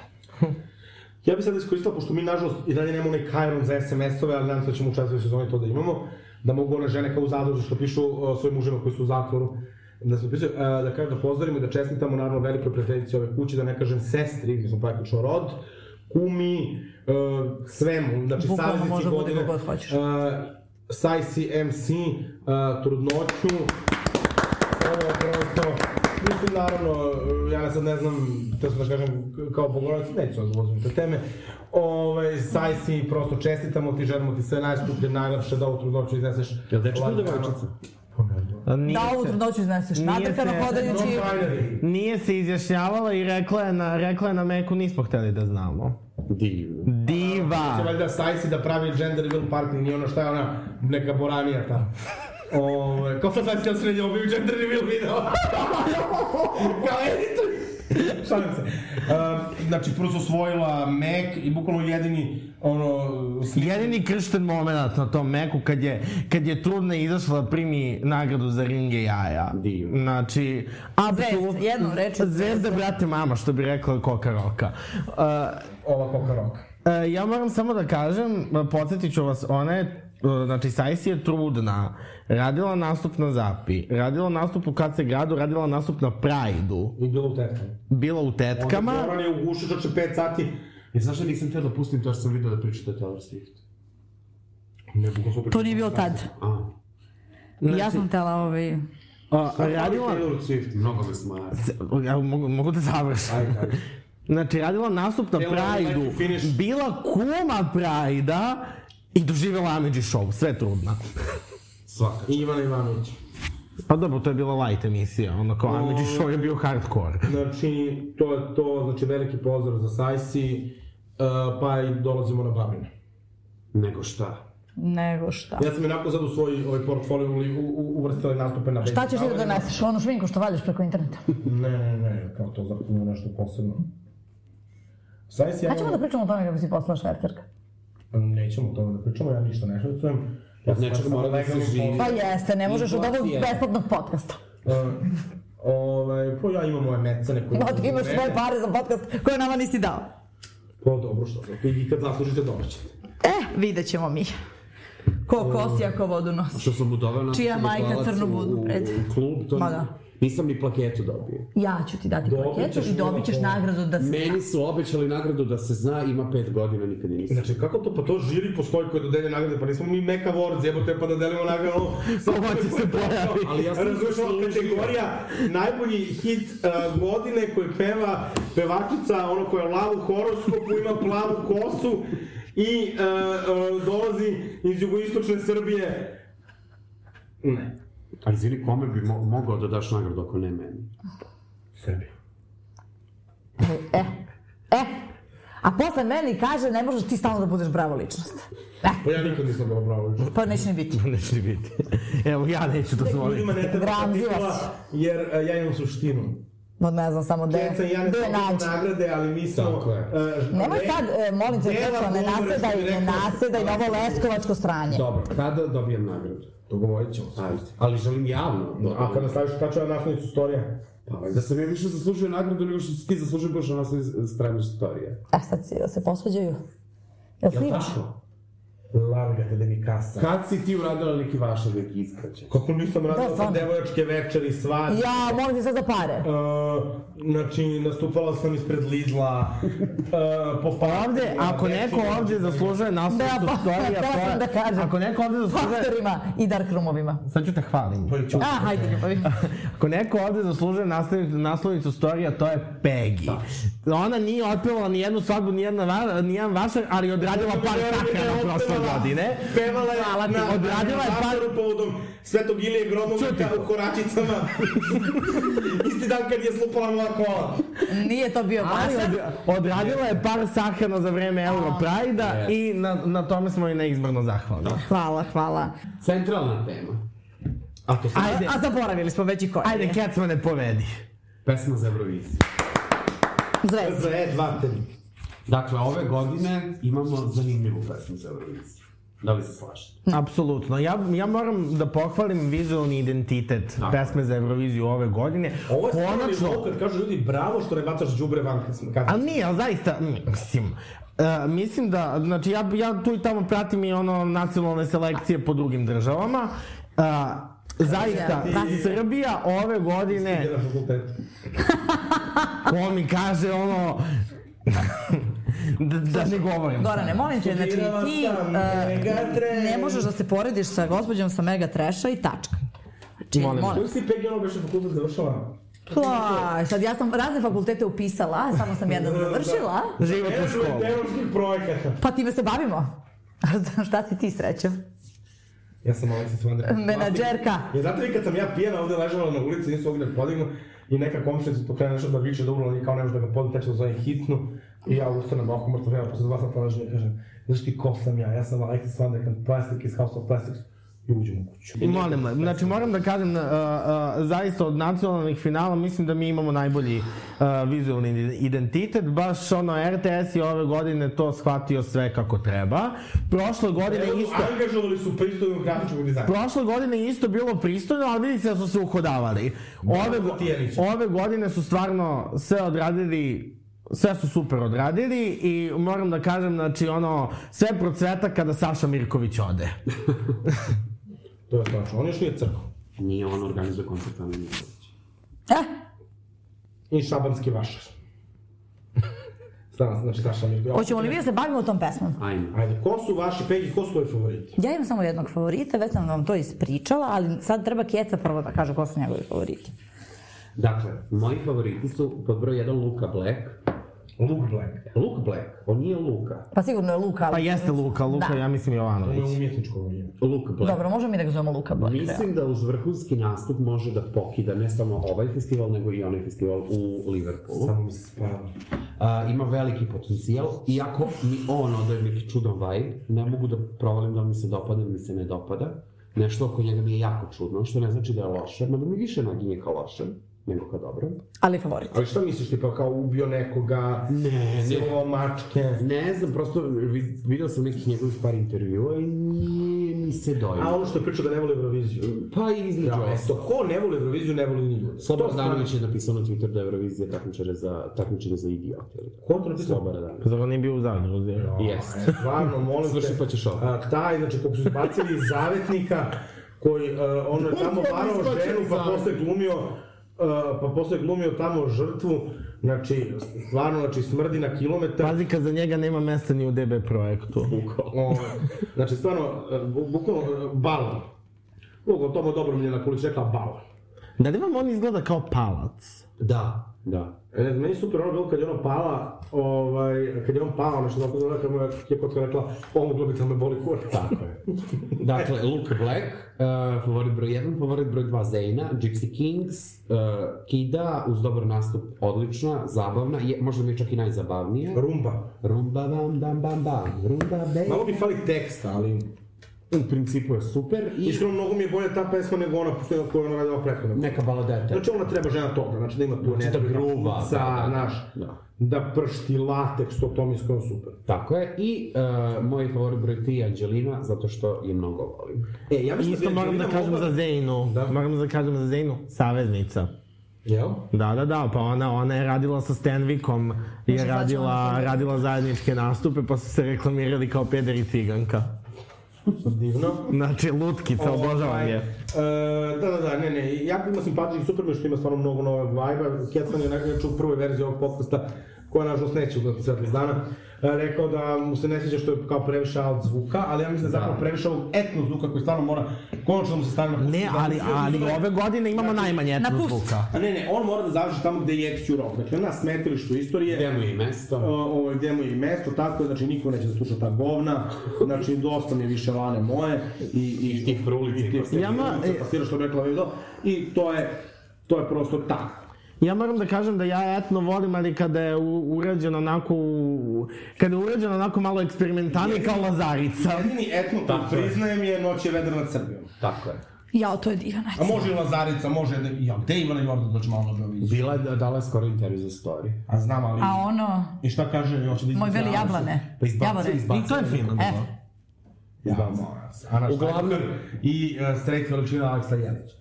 S3: Ja bih sad iskoristila, pošto mi nažalost i dalje nemamo onaj Kajron za SMS-ove, ali nadam se da ćemo u četvrtoj sezoni to da imamo, da mogu one žene kao u zadružu što pišu o, svojim mužima koji su u zatvoru, da se pisuju, e, da kažem da pozdravimo i da čestitamo naravno velikoj prijateljici ove kuće, da ne kažem sestri, mi smo praktično rod, kumi, e, svemu, znači
S5: Bukvalno može
S3: saveznici
S5: da bude
S3: godine,
S5: kako god hoćeš.
S3: e, Sajsi MC, e, trudnoću, ovo je prosto Mislim, naravno, ja sad ne znam, to sam da kažem, kao bogorac, neću odvozim te teme. Ove, saj si, prosto čestitamo ti, želimo ti sve najskuplje, najlepše da ovu trudnoću izneseš.
S6: Jel dečko
S3: lagano.
S6: ili devojčica?
S3: Pa ne znam.
S4: A Nije,
S5: Da ovu
S4: se,
S5: trudnoću izneseš
S4: Nije
S5: nadrkano
S4: se-
S5: hodajući.
S3: Non-binary.
S4: nije se izjašnjavala i rekla je na, rekla je na meku nismo hteli da znamo.
S6: Divno.
S3: Će
S4: Diva!
S3: valjda saj si da pravi gender reveal party, nije ono šta je ona neka boranija ta. Ove, kao sad da sad si ja sredio obiju gender reveal video. kao editor. Šalim se. Um, znači, prvo su osvojila Mac i bukvalno jedini ono, sli-
S4: Jedini kršten moment na tom meku kad je, kad je trudna izašla da primi nagradu za ringe jaja.
S6: Divno.
S4: Znači, apsolutno...
S5: Zvezda, jednom rečju
S4: Zvezda, brate, mama, što bi rekla koka roka. Uh,
S3: ova koka roka.
S4: E, ja moram samo da kažem, e, podsjetit ću vas, ona je, e, znači Sajsi je trudna, radila nastup na Zapi, radila nastup u KC gradu, radila nastup na Prajdu,
S3: I bilo u tetkama.
S4: bila u tetkama.
S3: Goran je u gušu čoče 5 sati.
S6: E, znaš da nisam teo da pustim to što sam vidio da pričate Taylor Swift? Ne mogu
S5: To nije bio tad.
S6: A,
S5: Ja sam htela ovaj...
S4: A, radila,
S6: Taylor Swift, mnogo me smara.
S4: ja mogu, mogu da završim. Znači, radila nastup na
S3: Evo,
S4: Prajdu,
S3: neki finish.
S4: bila kuma Prajda i doživjela Amidži show, sve trudna.
S6: Svaka.
S3: I Ivan Ivanović.
S4: Pa dobro, to je bila light emisija, ono kao Amidži show je bio hardcore.
S3: Znači, to je to, znači veliki pozdrav za Sajsi, uh, pa i dolazimo na Babine.
S6: Nego šta?
S5: Nego šta.
S3: Ja sam inako sad u svoj ovaj portfolio uli- u, u, uvrstili nastupe na
S5: Šta
S3: Baby
S5: ćeš ti da
S3: Toweru.
S5: doneseš? Onu šminku što valjaš preko interneta.
S3: Ne, ne, ne, kao to zapravo nešto posebno. Sajsi, ja...
S5: Kad ćemo da pričamo o tome kako si postala švercerka?
S3: Nećemo o tome da pričamo, ja ništa ne švercujem. Ja
S6: Od nečega
S3: sam
S6: mora da se
S3: legalno
S6: živi.
S5: Pa jeste, ne možeš od ovog
S3: Inflacija.
S5: besplatnog podcasta.
S3: po- E, Ovaj, pa ja imam moje mecane koje...
S5: No, ti da imaš
S3: mene.
S5: svoje pa- pare za podcast koje nama nisi dao.
S3: Pa dobro, što zato, i kad zaslužite dobit ćete.
S5: E, vidjet ćemo mi. Ko kosi ako vodu nosi.
S6: Što sam mu doveo na...
S5: Čija majka crnu budu,
S6: u,
S5: red.
S6: u klub, to
S5: Ma
S6: ni-
S5: da.
S6: nisam ni plaketu dobio.
S5: Ja ću ti dati
S3: Dobit
S5: paketu
S3: ćeš
S5: i dobit ćeš
S3: bilo ko.
S5: nagradu da se...
S6: Meni su obećali nagradu da se zna, ima pet godina, nikad je nisam.
S3: Znači, kako to, pa to žiri postoji koje dodelje nagrade, pa nismo mi Meka Awards, jebote, pa da delimo nagrade, ono... Samo
S4: će Pa se pojavi.
S3: Ali ja sam razumeš, ono, kategorija najbolji hit uh, godine koji peva pevačica, ono koja je u lavu horoskopu, ima plavu kosu i uh, uh, dolazi iz jugoistočne Srbije. Ne.
S6: Ali izvini, kome bi mo mogao da daš nagradu ako ne meni?
S3: Srbije.
S5: E, e. A posle meni kaže ne možeš ti stalno da budeš bravo ličnost. E,
S3: Pa ja nikad nisam dobro pravo više.
S5: pa neće ni biti.
S4: Neće ni biti. Evo, ja neću dozvoliti.
S3: Ljudima ne treba
S5: Gramziva
S3: titula,
S5: si.
S3: jer uh, ja imam suštinu.
S5: Od ne znam samo gde
S3: Deca i ja
S5: je,
S3: ne
S5: gde E, je nađe.
S3: sam nagrade, ali mi smo...
S6: Tako je.
S3: uh,
S5: Nemoj
S3: ne-
S5: sad, e, molim te,
S3: Dela
S5: Peco, ne
S3: govore, što bi
S5: nasedaj, ne
S3: rekao-
S5: nasedaj na ovo leskovačko sranje.
S6: Dobro, kada dobijem nagradu?
S3: Dogovorit ćemo se.
S6: Ajde. Ali želim javno. da
S3: A kada staviš, pa ću ja naslovnicu storija.
S6: Pa, da sam ja više zaslužio nagradu nego što si ti zaslužio baš na nas straniš storije.
S5: E, sad si, da se posvađaju. Jel snimaš?
S3: Largate da mi kasa.
S6: Kad si ti uradila neki vaš Da, neki iskraćaj?
S3: Kako nisam radila sa
S5: stvarno.
S3: devojačke večeri, svađe.
S5: Ja, molim te sad za pare.
S3: Uh, znači, nastupala sam ispred Lidla. Uh, po
S4: Ovde, ako neko ovde zaslužuje nastup
S5: Da,
S4: u
S5: pa,
S4: storija,
S5: htela sam da
S4: to je...
S5: kažem.
S4: Ako neko ovde zaslužuje...
S5: Faktorima i darkroomovima.
S4: Sad ću te hvalim.
S6: E,
S5: A, hajde ljubavi.
S4: Ako neko ovde zaslužuje naslovnicu, naslovnicu storija, to je Peggy.
S3: Da.
S4: Ona nije otpevala ni jednu svadbu, ni, jedna, va- ni jedan vašar, ali je odradila par sakrana prošle godine.
S3: Pevala je
S4: Hvala ti, odradila je par-
S3: par... povodom Svetog Ilije
S4: Čuti.
S3: Gromovnika u Koračicama. Isti dan kad je slupala moja kola.
S5: Nije to bio
S4: Ali
S5: vaša.
S4: od, odradila je par sahrana za vreme Euro Prajda i na, na tome smo i neizmrno zahvalni.
S3: Da.
S5: Hvala, hvala.
S6: Centralna tema.
S3: A to sam...
S4: Ajde,
S5: A zaboravili smo već i koji.
S4: ajde, Kecmane, povedi.
S6: Pesma za Euroviziju.
S5: Zvezda.
S3: Za E2
S6: Dakle, ove godine imamo zanimljivu pesmu za Euroviziju. Da li se slažete?
S4: Apsolutno. Ja, ja moram da pohvalim vizualni identitet
S6: Tako.
S4: pesme za Euroviziju ove godine.
S3: Ovo je stvarno
S4: Konačno,
S3: nivou kad kažu ljudi bravo što ne bacaš đubre van kad smo- kad
S4: Ali nije, ali zaista, mm, mislim, e, mislim da, znači ja, ja tu i tamo pratim i ono nacionalne selekcije po drugim državama. E, zaista,
S3: ti-
S4: Srbija ove godine,
S3: ide na fakultet.
S4: ko mi kaže ono, da, da ne govorim.
S5: Gorane, molim te, znači
S3: Studirala
S5: ti
S3: sam
S5: e,
S3: Megatrash.
S5: ne možeš da se porediš sa gospođom sa Megatreša i tačka. Znači,
S4: Molim.
S5: molim.
S3: Koji si Peggy ono beše fakultet završava?
S5: Pa, sad ja sam razne fakultete upisala, samo sam jedan završila.
S4: Život u školu.
S3: Evropskih projekata.
S5: Pa time se bavimo. Šta si ti srećo?
S3: Ja sam Aleksis Vander.
S5: pa Menadžerka.
S3: Ja zato i kad sam ja pijena ovde ležala na ulici, nisam ovdje da podignu i neka komšnica tu krene nešto da viče dobro, ali kao ne može da ga podi, taj će da zove hitnu. I ja ustanem ovako mrtvo vremena, posle dva sata ležem i kažem, znaš ti ko sam ja, ja sam Alexis Van Dekan, plastik iz House of Plastics. I uđem u kuću.
S4: Molim, le- znači moram da kažem, uh, uh, zaista od nacionalnih finala mislim da mi imamo najbolji uh, vizualni identitet, baš ono RTS je ove godine to shvatio sve kako treba. Prošle godine
S3: Evo,
S4: isto...
S3: Angažovali su pristojnog grafičkog dizajna.
S4: Prošle godine je isto bilo pristojno, ali vidi se da su se uhodavali.
S3: Da,
S4: Ove, go-
S3: Tijanić.
S4: ove godine su stvarno sve odradili sve su super odradili i moram da kažem, znači ono, sve procveta kada Saša Mirković ode.
S3: To je strašno, on još nije crko.
S6: Nije on organizuje koncert, ali nije Nikolić.
S5: Eh,
S3: I šabanski vašar. Stvarno, znači Saša Mirko.
S5: hoćemo li mi da se bavimo tom pesmom?
S6: Ajme.
S3: Ajde, ko su vaši pegi, ko su tvoji favoriti?
S5: Ja imam samo jednog favorita, već sam vam to ispričala, ali sad treba Kjeca prvo da kaže ko su njegovi favoriti.
S6: Dakle, moji favoriti su pod broj 1 Luka Black.
S3: Luke Black.
S6: Luke Black, on nije Luka.
S5: Pa sigurno je Luka. ali-
S4: Pa jeste Luka, Luka,
S5: Da.
S4: ja mislim
S3: Ovo je
S4: Jovanović.
S3: umjetničko ime.
S6: Luke Black.
S5: Dobro, možemo mi da ga zovemo Luka Black.
S6: Mislim da uz vrhunski nastup može da pokida ne samo ovaj festival, nego i onaj festival u Liverpoolu.
S3: Samo mi se spava.
S6: A, ima veliki potencijal, iako mi on odaje neki čudan vibe, ne mogu da provalim da li mi se dopada ili mi se ne dopada. Nešto oko njega mi je jako čudno, što ne znači da je loše, mada mi više naginje kao loše nego kao dobro.
S5: Ali favorit.
S3: Ali šta misliš, tipa kao ubio nekoga,
S6: Ne,
S3: silovao mačke?
S6: Ne znam, prosto vi- video sam nekih njegovih par intervjua i nije mi se
S3: A
S6: dojma.
S3: ono što je pričao da ne voli Euroviziju.
S6: Pa i između
S3: Da,
S6: ostalo.
S3: eto, ko ne voli Euroviziju, ne voli ni ljudi.
S6: Slobodan
S3: To stvarno-
S6: Radanović je napisao na Twitteru da je Eurovizija takmičenje za, takmičenje za idiote. ili tako?
S3: Ko je to napisao?
S6: Slobodan Radanović.
S4: Zar on nije bio u
S3: Da.
S4: Zagrebu? zar?
S6: Jest.
S3: E, Stvarno, molim te.
S6: Svrši pa ćeš ovo.
S3: A, taj, znači, kako su izbacili iz zavetnika, koji, e, ono je tamo
S6: Upravo
S3: varao
S6: izbačeni
S3: ženu, pa
S6: zavetnik.
S3: posle glumio, e, pa posle glumio tamo žrtvu, znači, stvarno, znači, smrdi na kilometar.
S4: Pazi kad za njega nema mesta ni u DB projektu.
S3: Ovo, znači, stvarno, e, bu- bukvalno, e, balon. Mogu, to mu dobro mi je na kulić rekla balon.
S4: Da li vam on izgleda kao palac?
S6: Da, da.
S3: E, Ne znam, meni je super ono bilo kad je ona pala, ovaj, kad je on pao, nešto tako zove, kad mu je Kjekotka rekla, ovo moglo bi da me boli kurac.
S6: Tako je. Dakle, Luke Black, uh, favorit broj 1, favorit broj 2 Zayna, Gypsy Kings, uh, Kida, uz dobar nastup, odlična, zabavna, je, možda mi je čak i najzabavnija.
S3: Rumba.
S6: Rumba bam bam bam bam, rumba bam.
S3: Malo mi fali teksta, ali...
S6: U principu je super i
S3: Iskreno, mnogo mi je bolje ta pesma nego ona postoja koju je ona radila prethodno.
S6: neka baladeta.
S3: Znači, ona treba žena toga, znači da ima tu
S6: Znači, da
S3: energiju,
S6: gruva,
S3: ptica,
S6: da, da, da.
S3: znaš,
S6: Da.
S3: da pršti lateks, to to mi je skoro super.
S6: Tako je, i uh, moj favorit broj 3 je Anđelina, zato što je mnogo volim.
S3: E, ja mislim
S4: Isto
S3: bi
S4: moram da
S3: Angelina
S4: kažem
S3: mogla-
S4: za Zeynu.
S3: Da.
S4: Moram da kažem za Zeynu. Saveznica.
S3: Jel?
S4: Da, da, da, pa ona, ona je radila sa Stanvikom, je
S5: sad ćemo
S4: radila,
S5: na
S4: radila zajedničke nastupe, pa su se reklamirali kao peder i ciganka.
S3: Divno.
S4: Znači, lutkica, obožavam
S3: Ovaj,
S4: je.
S3: e, da, da, da, ne, ne, jako ima simpatičnih Superman što ima stvarno mnogo nove vibe-a. Kjecan je nekako u prvoj verziji ovog podcasta, koja nažalost neće ugledati svetlost dana, e, rekao da mu se ne sviđa što je kao previše alt zvuka, ali ja mislim da je zapravo previše ovog etno zvuka koji stvarno mora konačno da mu se stane na
S4: Ne,
S3: da mu
S4: ali,
S3: se-
S4: ali ove godine imamo najmanje etno
S5: Napusti.
S4: zvuka.
S3: A ne, ne, on mora da završi tamo gde je XQ Rock. Dakle, na smetilištu istorije,
S6: Gde mu je i mesto?
S3: ovo, gde mu je i mesto, tako je, znači niko neće da sluša ta govna, znači dosta mi je više vane moje i, i
S6: tih frulica i
S3: i tih
S6: pastira.
S4: Ja ma-
S3: frulica, pastira što bi rekla Vido, i to je, to je prosto tako.
S4: Ja moram da kažem da ja etno volim, ali kada je u- urađeno onako, u- kada je urađeno onako malo eksperimentalnije kao Lazarica.
S3: Jedini etno
S6: Tako
S3: koji
S6: je.
S3: priznajem je Noć je vedra nad Srbijom.
S6: Tako je.
S5: Jao, to je divan
S3: A može i Lazarica, može, ne, ja, gde je Ivana Jordan doći malo na Beovizu?
S6: Bila je, dala je skoro intervju za story.
S3: A znam, ali...
S5: A ono,
S3: I šta kaže, još da
S5: moj
S3: izbaci
S5: veli
S3: Anašu?
S5: jablane.
S6: Pa izbacio,
S5: Jablane.
S6: izbacio.
S4: I to je fino
S5: E,
S4: bilo.
S3: Ja, moram vas. Ana Uglavnom... i uh, Straight veličina Aleksa Jelića.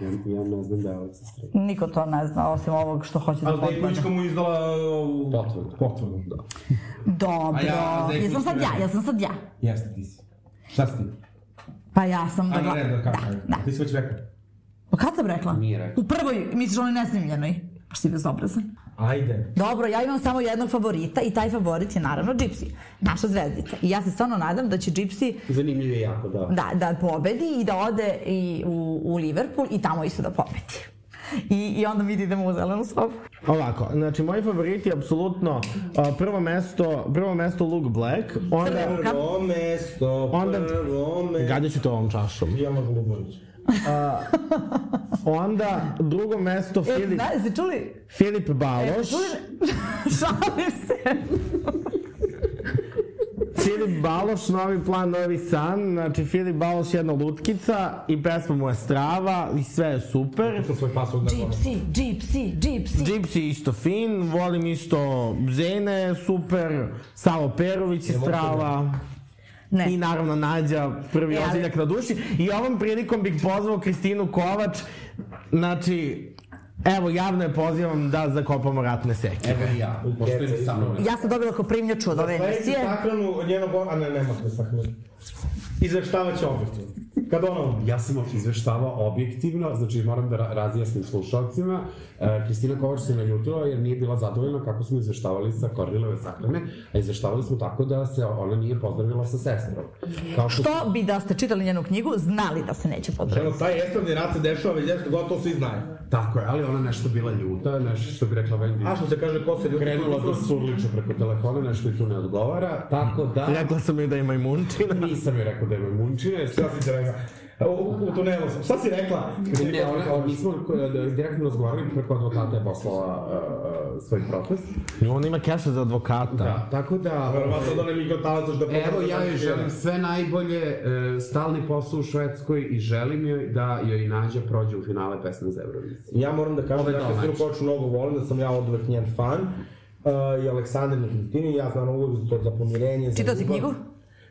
S6: Ja, ja ne znam da je Aleksa Strejka.
S5: E, niko to ne zna, osim ovog što hoće da
S3: Ali
S5: potpada.
S3: Dejkovićka mu je izdala uh, ovu...
S6: Potvrdu.
S3: Potvrdu, da.
S5: Dobro,
S3: A ja, Zekus
S5: jesam sad
S3: ti
S5: ja,
S3: rekao.
S5: jesam sad ja.
S3: Jeste, ti si. Šta si ti?
S5: Pa ja sam da...
S3: A ne, ne,
S5: gla-
S3: da kako je.
S5: da.
S3: Ti si već rekao.
S5: Pa kad sam rekla?
S6: Nije rekla.
S5: U prvoj, misliš onoj nesnimljenoj? Pa si bezobrazan.
S3: Ajde.
S5: Dobro, ja imam samo jednog favorita i taj favorit je naravno Gypsy, naša zvezdica. I ja se stvarno nadam da će Gypsy
S6: Zanimljiv je jako, da.
S5: da, da pobedi i da ode i u, u Liverpool i tamo isto da pobedi. I, I onda mi idemo u zelenu sobu.
S4: Ovako, znači moji favoriti apsolutno a, prvo mesto, prvo mesto Luke Black, onda
S5: Kad-
S3: Prvo mesto,
S4: Onda-
S3: prvo mesto.
S4: Gadit ću to ovom čašom.
S3: Jelena Golubović.
S4: Onda drugo mesto
S5: E,
S4: Filip,
S5: zna, jeste čuli?
S4: Filip Baloš.
S5: Čuli? E, Šalim se.
S4: Filip Baloš, novi plan, novi san. Znači Filip Baloš jedna lutkica i pesma mu je strava i sve je super.
S3: Sam svoj da pas odnao.
S5: Gypsy, gypsy, gypsy.
S4: Gypsy isto fin, volim isto Zene, super, Savo Perović i strava.
S5: da- Ne.
S4: I naravno Nađa, prvi
S5: E, ali-
S4: oziljak na duši. I ovom prilikom bih pozvao Kristinu Kovač. Znači, evo, javno je pozivam da zakopamo ratne seke.
S5: E,
S6: Evo i ja, pošto ide sa mnom.
S5: Ja sam dobila koprimnjaču od ove
S3: Sledeći
S5: emisije.
S3: sahranu od njenog... A ne, nema te sahranu. Izveštavaće objektivno. Kad ona umre.
S6: Ja sam izveštavao objektivno, znači moram da ra- razjasnim slušalcima. E, Kristina Kovač se naljutila jer nije bila zadovoljna kako smo izveštavali sa Kornilove sahrane, a izveštavali smo tako da se ona nije pozdravila sa sestrom. Kao što...
S5: Što bi da ste čitali njenu knjigu, znali da se neće
S3: Ženo,
S5: pozdraviti.
S3: taj estradni rat se dešava već 10 godina, to svi znaju.
S6: Tako je, ali ona nešto bila ljuta, nešto što bi rekla Wendy.
S3: A što se kaže, ko se ljubi...
S6: Krenula da surliče preko telefona, nešto i tu ne odgovara, tako
S5: pa-
S6: da...
S4: Rekla sam joj da ima i munčina.
S6: Nisam joj rekao da je majmunčina, jer
S3: Šta si ti rekla? U, u, u tunelu sam. Šta si rekla?
S6: Ne, ona, mi smo e, direktno razgovarali preko advokata je poslala e, svoj protest.
S4: On ima keša za advokata.
S6: Da, tako da...
S3: Verovatno da ne mi kao talacaš da...
S6: Evo,
S3: pokaže
S6: ja
S3: da
S6: joj
S3: je
S6: želim
S3: žena.
S6: sve najbolje, e, stalni posao u Švedskoj i želim joj da joj nađe prođe u finale pesme za Euroviziju.
S3: Ja moram da kažem da
S6: to
S3: Kristinu
S6: znači.
S3: Kovač mnogo volim, da sam ja od uvek njen fan. Uh, I Aleksandar Nikitini, ja znam uvek za to za pomirenje. za
S5: Čitao si
S3: ljubav.
S5: knjigu?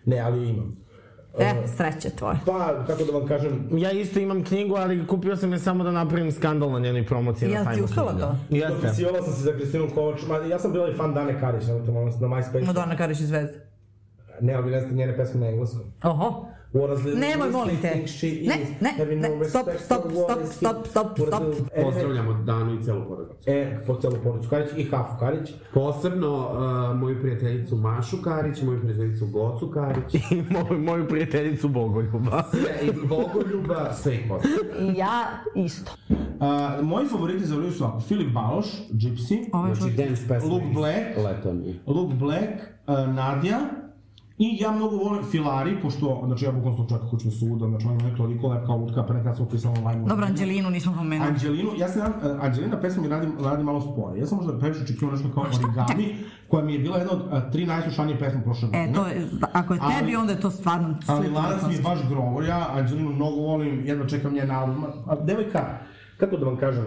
S3: Ne, ali imam.
S5: E, sreće tvoje.
S3: Pa, kako da vam kažem,
S4: Ja isto imam knjigu, ali kupio sam je samo da napravim skandal na njenoj promociji na
S5: Jel ti
S4: sajmu
S5: uspela
S4: knjiga.
S5: to?
S4: Jeste.
S3: Dopisivao sam se za Kristinu Kovač, ma ja sam bila i fan Dane Karić, nemojte molim vas, na MySpace.
S5: Madonna Karić iz Zvezde.
S3: Ne, ali ne znam njene pesme na engleskom.
S5: Oho.
S3: What does little
S5: Nemoj,
S3: Lucy
S5: molim te.
S3: think she is?
S5: Ne, ne,
S3: Having
S5: ne,
S3: no
S5: stop,
S3: respect
S5: stop,
S3: for
S5: stop,
S3: what is
S5: stop,
S3: it?
S5: stop,
S3: What
S5: stop.
S3: is it? E,
S6: Pozdravljamo Danu i celu porodicu.
S3: E, po celu porodicu Karić i Hafu Karić.
S6: Posebno e, moju prijateljicu Mašu Karić, moju prijateljicu Gocu Karić,
S4: I moju, moju prijateljicu Bogoljuba.
S6: sve i Bogoljuba, sve ih pozdravljamo.
S5: I ja isto.
S3: A, moji favoriti za Oliviju su ovako, Filip Baloš, Gypsy,
S6: Znači, dance pesme
S3: Luke
S6: iz
S3: Black.
S6: Leta mi je.
S3: Luke Black, uh, Nadja, I ja mnogo volim Filari, pošto, znači ja bukvalno sam čak hoću suda, znači ona je toliko lepa kao lutka, pre nekada sam upisala online.
S5: Dobro, Anđelinu nismo pomenuli.
S3: Anđelinu, ja sam, uh, Anđelina pesma mi radi, radi malo spore. Ja sam možda da previše očekivao nešto kao origami, koja mi je bila jedna od uh, tri najslušanije pesme prošle godine.
S5: E, to je, ako je tebi,
S3: Ali-
S5: onda je to stvarno
S3: Ali
S5: slika
S3: Lanac mi je baš grovo, ja Anđelinu mnogo volim, jedva čekam njen album. A devojka, kako da vam kažem,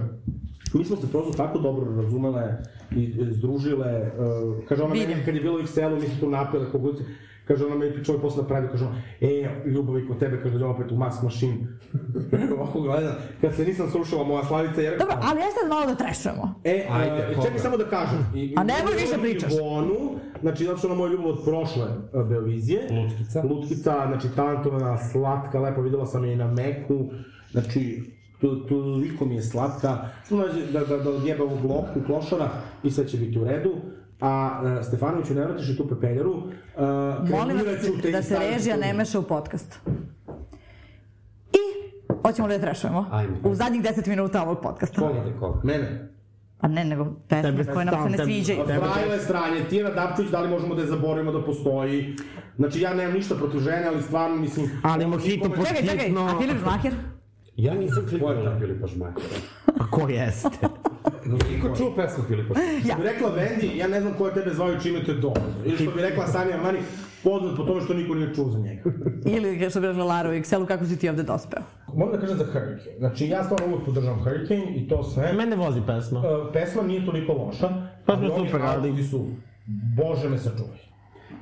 S3: mi smo se prosto tako dobro razumele i i združile. Uh, kaže ona
S5: Vidim.
S3: meni, kad je bilo u XL-u, mi smo tu napile, kogod se- Kaže ona meni pričao je posle pravi, kaže ona, e, ljubavi kod tebe, kaže dođem opet u Mask Machine. Ovako gledam, kad se nisam slušala moja slavica, jer...
S5: Dobro, ali ajde sad malo da trešujemo.
S3: E,
S6: Ajde,
S3: ajde,
S6: koga?
S3: čekaj samo da kažem. I,
S5: A nemoj više
S3: i
S5: pričaš.
S3: Ivonu, znači, zato što ona moja ljubav od prošle e, Beovizije.
S6: Lutkica.
S3: Lutkica, znači, talentovana, slatka, lepo videla sam je i na Meku. Znači, tu, tu liko mi je slatka. Znači, da, da, da odjeba ovu bloku klošara i sve će biti u redu. A e, Stefanoviću, ne vratiš i tu pepeljeru. Uh,
S5: Molim vas da se- da se režija ne meša u podcast. I, hoćemo da je trešujemo.
S6: Ajmo.
S5: U zadnjih 10 minuta ovog podcasta.
S6: Koga te koga?
S3: Mene.
S5: Pa ne, nego pesme
S4: Tebe
S5: koje nam se
S4: sam,
S5: ne
S4: tebe-
S5: sviđaju.
S3: Frajle stranje, Tijena Dapčević, da li možemo da je zaboravimo da postoji? Znači, ja nemam ništa protiv žene, ali stvarno, mislim...
S4: Ali Mojito pod
S5: Čekaj, čekaj,
S4: hitno...
S5: a Filip Žmaker?
S6: Ja nisam kliknuo
S3: Ko je to?
S6: na Filipa Žmakara.
S4: Pa ko jeste?
S6: Niko čuo pesmu Filipa Žmakara.
S5: Ja.
S3: Što bi rekla Wendy, ja ne znam ko je tebe zvao i čime te dolazi. Ili što bi rekla Sanja Mani, poznat po tome što niko nije čuo za njega.
S5: Ili što bi rekla Lara u Excelu, kako si ti ovde dospeo?
S3: Moram da kažem za Hurricane. Znači, ja stvarno uvek podržavam Hurricane i to sve.
S4: Mene vozi pesma.
S3: E, Pesma nije toliko loša.
S4: Pesma je
S3: ali oni
S4: super, ali-
S3: albumi su, bože me sačuvaj.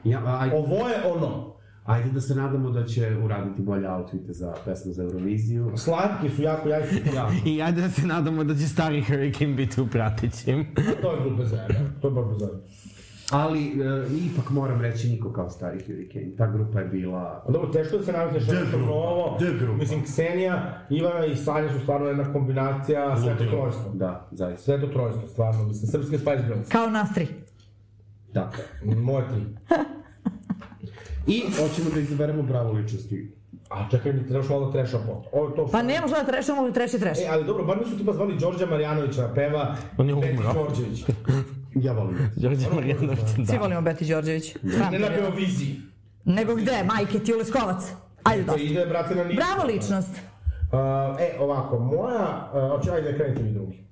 S6: Ja, a- ajde,
S3: Ovo je ono.
S6: ajde da se nadamo da će uraditi bolje outfite za pesmu za Euroviziju.
S3: Slatki su jako, jako su jako.
S4: I ajde da se nadamo da će stari Hurricane biti u pratećim.
S3: To je grupe zajedno. To je baš bezajebno.
S6: Ali e, ipak moram reći niko kao stari Hurricane. Ta grupa je bila...
S3: A Dobro, teško da se navikneš na nešto novo.
S6: D grupa.
S3: Mislim, Ksenija, Ivana i Sanja su stvarno jedna kombinacija sveto trojstvo.
S6: Da, zaista.
S3: Sveto trojstvo, stvarno, mislim, srpske Spice Girls.
S5: Kao nas tri.
S6: Da.
S3: Moje tri.
S6: I hoćemo da izaberemo bravo ličnosti
S3: A čekaj, mi trebaš malo da treša pot. Ovo je to što...
S5: Pa nema šta da trešamo, ali treši treši.
S3: E, ali dobro, bar nisu tipa zvali Đorđa Marjanovića, da peva
S6: Pa
S4: On je
S3: Peti
S4: umro.
S3: Đorđević.
S6: Ja volim.
S4: Đorđe Marjanović,
S5: Svi
S4: da.
S5: volimo Beti Đorđević. Sram
S3: Ne
S5: te
S3: na
S5: bilo.
S3: Beoviziji.
S5: Nego gde, majke ti Uleskovac? Ajde
S3: To
S5: dosta.
S3: ide, brate, na ništa.
S5: Bravo ličnost.
S3: Uh, e, ovako, moja... Uh, oči, ajde, krenite vi drugi.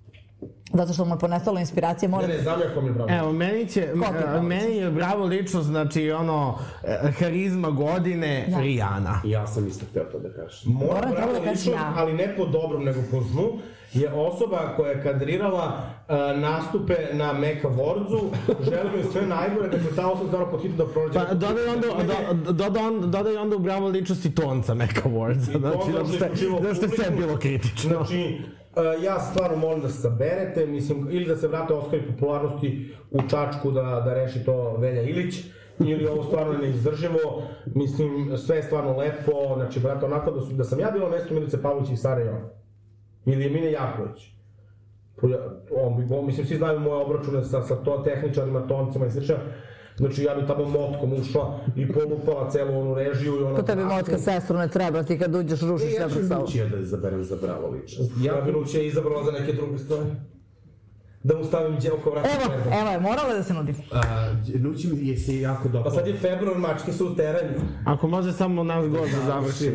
S5: Zato što mu je ponestalo inspiracije,
S3: Ne,
S5: moram...
S3: ne, znam ja kom je bravo.
S4: Evo, meni će, e,
S5: Ko ti je bravo
S4: meni je bravo lično, znači ono, eh, harizma godine,
S5: Ja.
S4: Rijana.
S6: Ja sam isto hteo to da kažem.
S3: Moja
S5: Moram
S3: bravo
S5: da kažem
S3: ličnost,
S5: ja.
S3: ali ne po dobrom, nego po zlu, je osoba koja je kadrirala uh, nastupe na Meka Wordsu. Želim joj sve najgore, da se ta osoba stvarno pod hitno da prođe.
S4: Pa dodaj onda, do, dodaj onda, dodaj onda u bravo ličnosti tonca Mac Awardsa, znači, zato što, je- zato što je sve bilo kritično.
S3: Znači, e, ja stvarno molim da se saberete, mislim, ili da se vrate Oskari popularnosti u Čačku da, da reši to Velja Ilić, ili ovo stvarno je neizdrživo, mislim, sve je stvarno lepo, znači, brate, onako da, su, da sam ja bila na mestu Milice Pavlić i Sara Jovan, ili Emine Jaković, Pa ja- on bi, on, mislim, svi znaju moje obračune sa, sa to tehničarima, toncima i slično, znači ja bi tamo motkom ušla i polupala celu onu režiju i ona...
S5: To tebi motka sestru ne treba, ti kad uđeš rušiš sve
S6: Ja ću
S5: pred sobom.
S6: Lučija da izaberem za bravo ličnost.
S3: Ja bi Lucija izabrala za neke druge stvari. Da mu stavim đeo ko vrata
S5: Evo,
S3: februar.
S5: evo je, morala je da se nudi.
S6: Uh, Luči mi je se jako
S3: Pa
S6: dopao.
S3: sad je februar, mačke su u terenju.
S4: Ako može samo naš god da završi.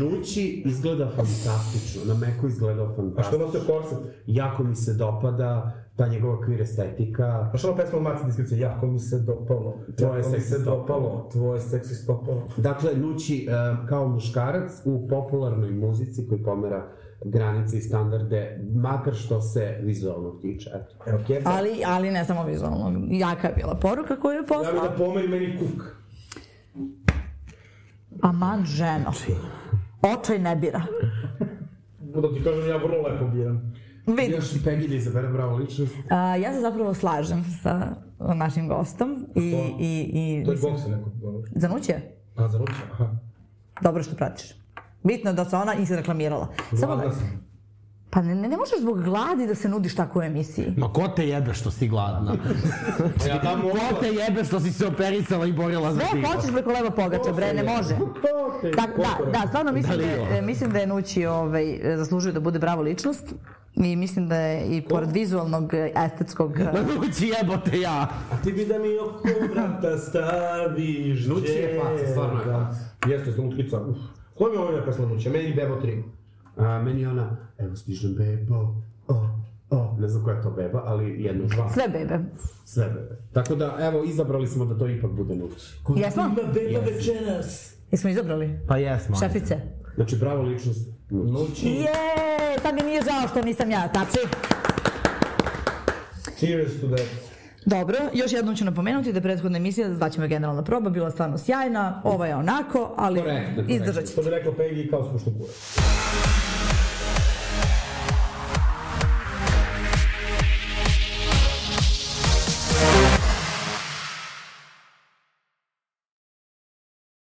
S6: Nući izgleda fantastično, na Meku izgleda
S3: A što
S6: fantastično.
S3: nosio korset?
S6: Jako mi se dopada ta njegova queer estetika.
S3: Pa što ono pesma Maci diskrecije? Jako mi se dopalo.
S6: Tvoje
S3: Jako mi
S6: seksi
S3: se
S6: stopalo.
S3: dopalo. Tvoje seksi stopalo.
S6: Dakle, Nući e, kao muškarac u popularnoj muzici koji pomera granice i standarde, makar što se vizualno tiče. Eto.
S3: Evo, Kjeca.
S5: Ali, ali ne samo vizualno. Jaka je bila poruka koju je
S3: Ja bi da
S5: poslao.
S3: pomeri meni kuk.
S5: Aman ženo. Očaj ne bira.
S3: Da ti kažem, ja vrlo lepo biram.
S5: Vidim.
S6: Još i Peggy da izabere bravo ličnost.
S5: A, ja se zapravo slažem sa našim gostom i, i, i
S3: To je
S5: mislim,
S3: bokse neko.
S5: Zanuće,
S3: A, za ruče? Aha.
S5: dobro što pratiš. Bitno je da se ona i se reklamirala. Samo,
S3: Gladna sam.
S5: pa ne, ne možeš zbog gladi da se nudiš tako u emisiji.
S4: Ma ko te jebe što si gladna? Pa
S3: Ja tamo
S4: Ko te jebe što si se operisala i borila za
S5: Sve
S4: život?
S5: hoćeš preko leva pogača, bre, ne može.
S3: To te...
S5: Tak, da, da, stvarno mislim da,
S4: Da li
S5: je,
S4: je?
S5: e, mislim da je Nući ovaj, e, zaslužio da bude bravo ličnost i mislim da je i pored vizualnog, e, estetskog... e,
S4: Ma Nući Pa jebote ja!
S3: A ti bi da mi oko vrata staviš
S6: Nući je faca, stvarno je faca.
S3: Jeste, sam utkica. Uf. Koja mi je ovoljena pesma Nući? Meni Bebo 3.
S6: A meni je ona, evo stižem bebo, o, o. Ne znam koja je to beba, ali jedno, dva,
S5: Sve bebe.
S6: sve bebe. Tako da, evo, izabrali smo da to ipak bude Nući.
S5: Jesmo?
S3: beba večeras.
S5: Jesmo izabrali?
S4: Pa jesmo.
S5: Šefice.
S6: Znači, bravo ličnost, Nući.
S3: Nući.
S5: Je, sad mi nije žao što nisam ja, tapši.
S3: Cheers to that.
S5: Dobro, još jednom ću napomenuti da je prethodna emisija, zvaćemo je generalna proba, bila stvarno sjajna, ova je onako, ali
S6: Korektno, korektno.
S5: izdržat ćete.
S3: Što bi rekla Peggy kao smo što kure.